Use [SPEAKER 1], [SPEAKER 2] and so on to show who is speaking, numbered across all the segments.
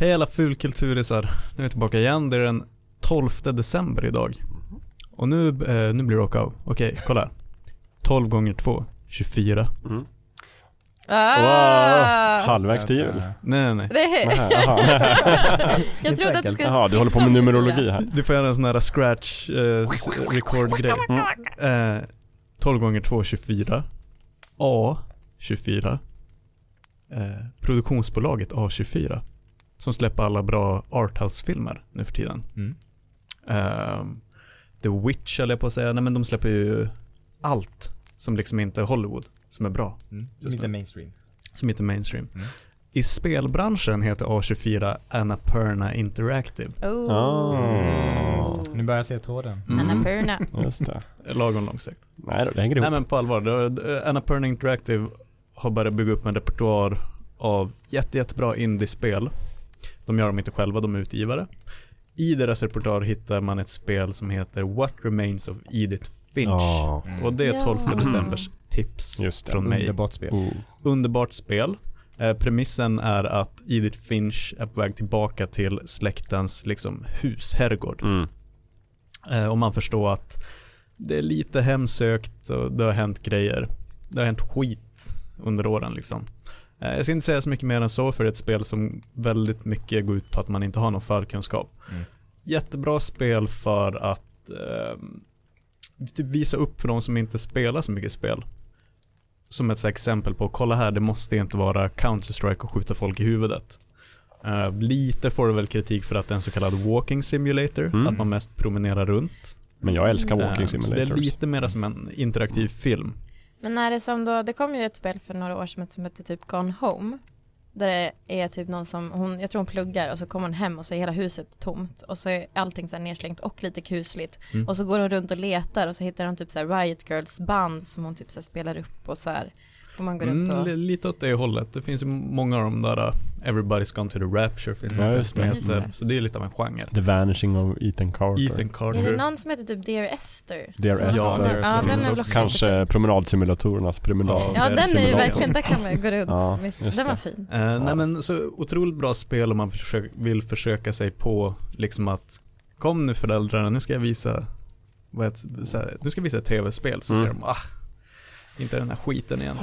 [SPEAKER 1] Hej alla fulkulturisar. Nu är vi tillbaka igen. Det är den 12 december idag. Och nu, eh, nu blir det åka av. Okej, kolla. här. 12 gånger 2, 24.
[SPEAKER 2] Mm.
[SPEAKER 3] Ah!
[SPEAKER 2] Halvvägs till
[SPEAKER 4] Eh,
[SPEAKER 2] jul.
[SPEAKER 1] Nej, nej, nej.
[SPEAKER 3] Det är,
[SPEAKER 2] Nähä, Jaha,
[SPEAKER 3] jag trodde att det skulle
[SPEAKER 2] Jaha, du håller på med
[SPEAKER 3] tipsa om
[SPEAKER 2] numerologi
[SPEAKER 3] 24.
[SPEAKER 2] här.
[SPEAKER 1] Du får göra en sån här scratch eh, s- record-grej. Eh, 12 gånger 2, 24. A, 24. Eh, produktionsbolaget A24. Som släpper alla bra arthouse-filmer nu för tiden.
[SPEAKER 4] Mm.
[SPEAKER 1] Ehm, The Witch höll jag på att säga. Nej men de släpper ju allt som liksom inte är Hollywood, som är bra,
[SPEAKER 4] Mm.
[SPEAKER 1] Just
[SPEAKER 4] Lite
[SPEAKER 1] det.
[SPEAKER 4] mainstream.
[SPEAKER 1] som inte är mainstream.
[SPEAKER 4] Mm.
[SPEAKER 1] I spelbranschen heter A24 Annapurna Interactive.
[SPEAKER 3] Oh.
[SPEAKER 2] Ah.
[SPEAKER 4] Nu börjar jag se tråden.
[SPEAKER 1] Mm.
[SPEAKER 3] Annapurna.
[SPEAKER 2] Just det.
[SPEAKER 1] Lagom långsökt.
[SPEAKER 2] Nej då, det hänger
[SPEAKER 1] Nej
[SPEAKER 2] ihop.
[SPEAKER 1] men på allvar, då- eh, Annapurna Interactive har börjat bygga upp en repertoar av jätte, jättebra indiespel. De gör dem inte själva, de är utgivare. I deras repertoar hittar man ett spel som heter What Remains of Edith Finch.
[SPEAKER 2] Ja,
[SPEAKER 4] Mm.
[SPEAKER 1] Och det är 12
[SPEAKER 3] Ja.
[SPEAKER 1] decembers tips
[SPEAKER 2] just det.
[SPEAKER 1] från mig.
[SPEAKER 4] Underbart spel.
[SPEAKER 2] Mm.
[SPEAKER 1] Underbart spel. Eh, premissen är att Edith Finch är på väg tillbaka till släktens liksom, hus, herrgård.
[SPEAKER 2] Mm.
[SPEAKER 1] Eh, och man förstår att det är lite hemsökt och det har hänt grejer. Det har hänt skit under åren liksom. Eh, jag ska inte säga så mycket mer än så för det är ett spel som väldigt mycket går ut på att man inte har någon förkunskap.
[SPEAKER 4] Mm.
[SPEAKER 1] Jättebra spel för att ehm, typ visa upp för de som inte spelar så mycket spel. Som ett så här exempel på, kolla här, det måste inte vara Counter-Strike och skjuta folk i huvudet. Eh, lite får du väl kritik för att det är en så kallad walking simulator,
[SPEAKER 2] Mm.
[SPEAKER 1] att man mest promenerar runt.
[SPEAKER 2] Men jag älskar
[SPEAKER 1] Eh,
[SPEAKER 2] walking
[SPEAKER 1] så det är
[SPEAKER 2] simulators.
[SPEAKER 1] lite mer som en interaktiv film.
[SPEAKER 3] Men är det som då, det kom ju ett spel för några år sedan som hette typ Gone Home. Där det är typ någon som, hon, jag tror hon pluggar och så kommer hon hem och så är hela huset tomt. Och så är allting så här nerslängt och lite kusligt.
[SPEAKER 1] Mm.
[SPEAKER 3] Och så går hon runt och letar och så hittar hon typ så här Riot Girls band som hon typ så här spelar upp och så här. Och man går runt
[SPEAKER 1] Mm,
[SPEAKER 3] och...
[SPEAKER 1] li- lite åt det hållet. Det finns ju många av de där uh, Everybody's Gone to the Rapture finns
[SPEAKER 2] Ja,
[SPEAKER 1] det
[SPEAKER 2] just
[SPEAKER 1] som
[SPEAKER 2] det.
[SPEAKER 3] Just
[SPEAKER 1] heter.
[SPEAKER 3] det.
[SPEAKER 1] Så det är lite av en genre.
[SPEAKER 2] The vanishing of Ethan Carter.
[SPEAKER 1] Ethan
[SPEAKER 3] Är det
[SPEAKER 1] Carter.
[SPEAKER 3] någon som heter typ Dear Esther?
[SPEAKER 2] Dear
[SPEAKER 3] Som-
[SPEAKER 2] Esther.
[SPEAKER 3] Ja,
[SPEAKER 1] Dear Esther.
[SPEAKER 3] den
[SPEAKER 1] Så
[SPEAKER 3] är väl också
[SPEAKER 2] Kanske
[SPEAKER 3] jättefin.
[SPEAKER 2] promenadsimulatorernas promenad.
[SPEAKER 3] Ja, den är ju
[SPEAKER 2] simulator.
[SPEAKER 3] verkligen, där kan man gå runt.
[SPEAKER 2] Ja,
[SPEAKER 3] Med-
[SPEAKER 2] just
[SPEAKER 3] den var
[SPEAKER 2] det.
[SPEAKER 3] fin.
[SPEAKER 1] Eh, Nej men så otroligt bra spel om man försök, vill försöka sig på liksom att kom nu föräldrarna, nu ska jag visa vad ett, så här, nu ska jag visa ett tv-spel så
[SPEAKER 2] Mm.
[SPEAKER 1] säger de ah, inte den här skiten igen.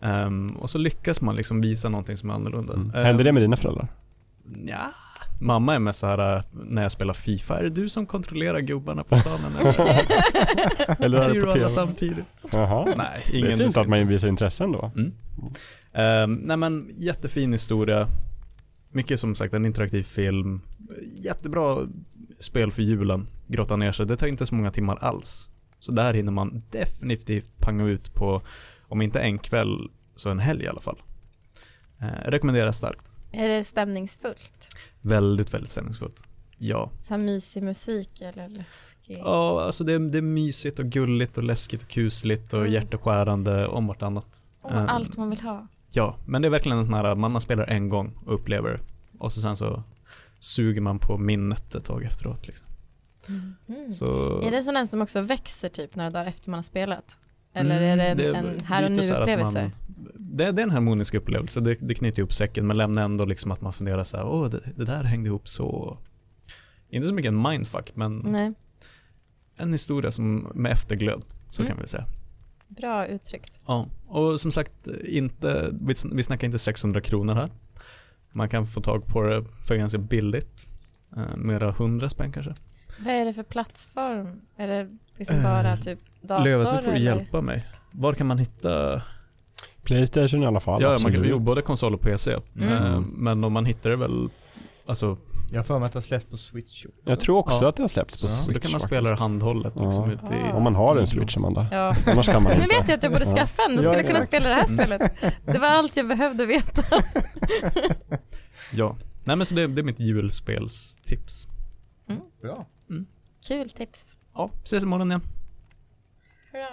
[SPEAKER 1] Ehm, och så lyckas man liksom visa någonting som är annorlunda.
[SPEAKER 2] Mm.
[SPEAKER 1] Eh,
[SPEAKER 2] Hände det med dina föräldrar?
[SPEAKER 1] Ja. Mamma är med så här äh, när jag spelar FIFA, är det du som kontrollerar gubbarna på planen? eller?
[SPEAKER 2] Eller är det
[SPEAKER 1] Styr
[SPEAKER 2] på
[SPEAKER 1] du alla
[SPEAKER 2] tv?
[SPEAKER 1] samtidigt?
[SPEAKER 2] Jaha.
[SPEAKER 1] Nej,
[SPEAKER 2] Det
[SPEAKER 1] ingen
[SPEAKER 2] är fint att man visar intresse ändå.
[SPEAKER 1] Mm. Ehm, nej men jättefin historia. Mycket som sagt en interaktiv film. Jättebra spel för julen. Grotta ner sig. Det tar inte så många timmar alls. Så där hinner man definitivt panga ut på, om inte en kväll, så en helg i alla fall. Eh, rekommenderas starkt.
[SPEAKER 3] Är det stämningsfullt?
[SPEAKER 1] Väldigt, väldigt stämningsfullt. Ja.
[SPEAKER 3] Så här mysig musik eller läskig?
[SPEAKER 1] Ja, alltså det är, det är mysigt och gulligt och läskigt och kusligt och
[SPEAKER 3] Mm.
[SPEAKER 1] hjärteskärande om vartannat.
[SPEAKER 3] Och
[SPEAKER 1] Ehm,
[SPEAKER 3] allt man vill ha.
[SPEAKER 1] Ja, men det är verkligen en sån här, man man spelar en gång och upplever det. Och så sen så suger man på minnet ett tag efteråt liksom.
[SPEAKER 3] Mm.
[SPEAKER 1] Så,
[SPEAKER 3] Är det en sån där som också växer typ några dagar efter man har spelat? Eller
[SPEAKER 1] Mm,
[SPEAKER 3] är det en, en här och
[SPEAKER 1] lite så att
[SPEAKER 3] nu-upplevelse?
[SPEAKER 1] man- Det, det är en harmonisk upplevelse, det, det knyter ihop säcken men lämnar ändå liksom att man funderar så här, åh det, det där hängde ihop så. Inte så mycket en mindfuck men
[SPEAKER 3] Nej,
[SPEAKER 1] en historia som med efterglöd, så
[SPEAKER 3] Mm.
[SPEAKER 1] kan vi säga.
[SPEAKER 3] bra uttryckt.
[SPEAKER 1] Ja, och som sagt, inte, vi, vi snackar inte 600 kronor här. Man kan få tag på det för ganska billigt. Eh, mera 100 spänn kanske.
[SPEAKER 3] Vad är det för plattform? Är det liksom bara
[SPEAKER 1] Eh,
[SPEAKER 3] typ dator?
[SPEAKER 1] Lövet, du får
[SPEAKER 3] eller?
[SPEAKER 1] hjälpa mig. Var kan man hitta?
[SPEAKER 2] Playstation i alla fall.
[SPEAKER 1] ja, man
[SPEAKER 2] absolut.
[SPEAKER 1] kan, jo, både konsol och PC.
[SPEAKER 3] Mm.
[SPEAKER 1] Eh, men om man hittar det väl, alltså,
[SPEAKER 4] Jag har för mig att det har släppts på Switch. också.
[SPEAKER 2] Jag tror också
[SPEAKER 1] Ja.
[SPEAKER 2] att det har släppts på
[SPEAKER 4] Ja, då
[SPEAKER 2] Switch
[SPEAKER 1] då kan man spela det
[SPEAKER 2] faktiskt.
[SPEAKER 1] handhållet liksom
[SPEAKER 2] Ja.
[SPEAKER 1] ute i...
[SPEAKER 3] Ja.
[SPEAKER 2] Om man har en Switch, Amanda.
[SPEAKER 3] Ja.
[SPEAKER 2] Annars kan man
[SPEAKER 3] Nu
[SPEAKER 2] inte.
[SPEAKER 3] vet jag att jag borde
[SPEAKER 2] Ja.
[SPEAKER 3] skaffa en, då
[SPEAKER 2] Ja,
[SPEAKER 3] skulle jag kunna
[SPEAKER 2] exakt.
[SPEAKER 3] spela det här spelet. Det var allt jag behövde veta.
[SPEAKER 1] Ja. Nej men så det, det är mitt julspelstips.
[SPEAKER 4] Bra.
[SPEAKER 3] Kul tips.
[SPEAKER 1] Ja, ses imorgon igen.
[SPEAKER 3] Hurra.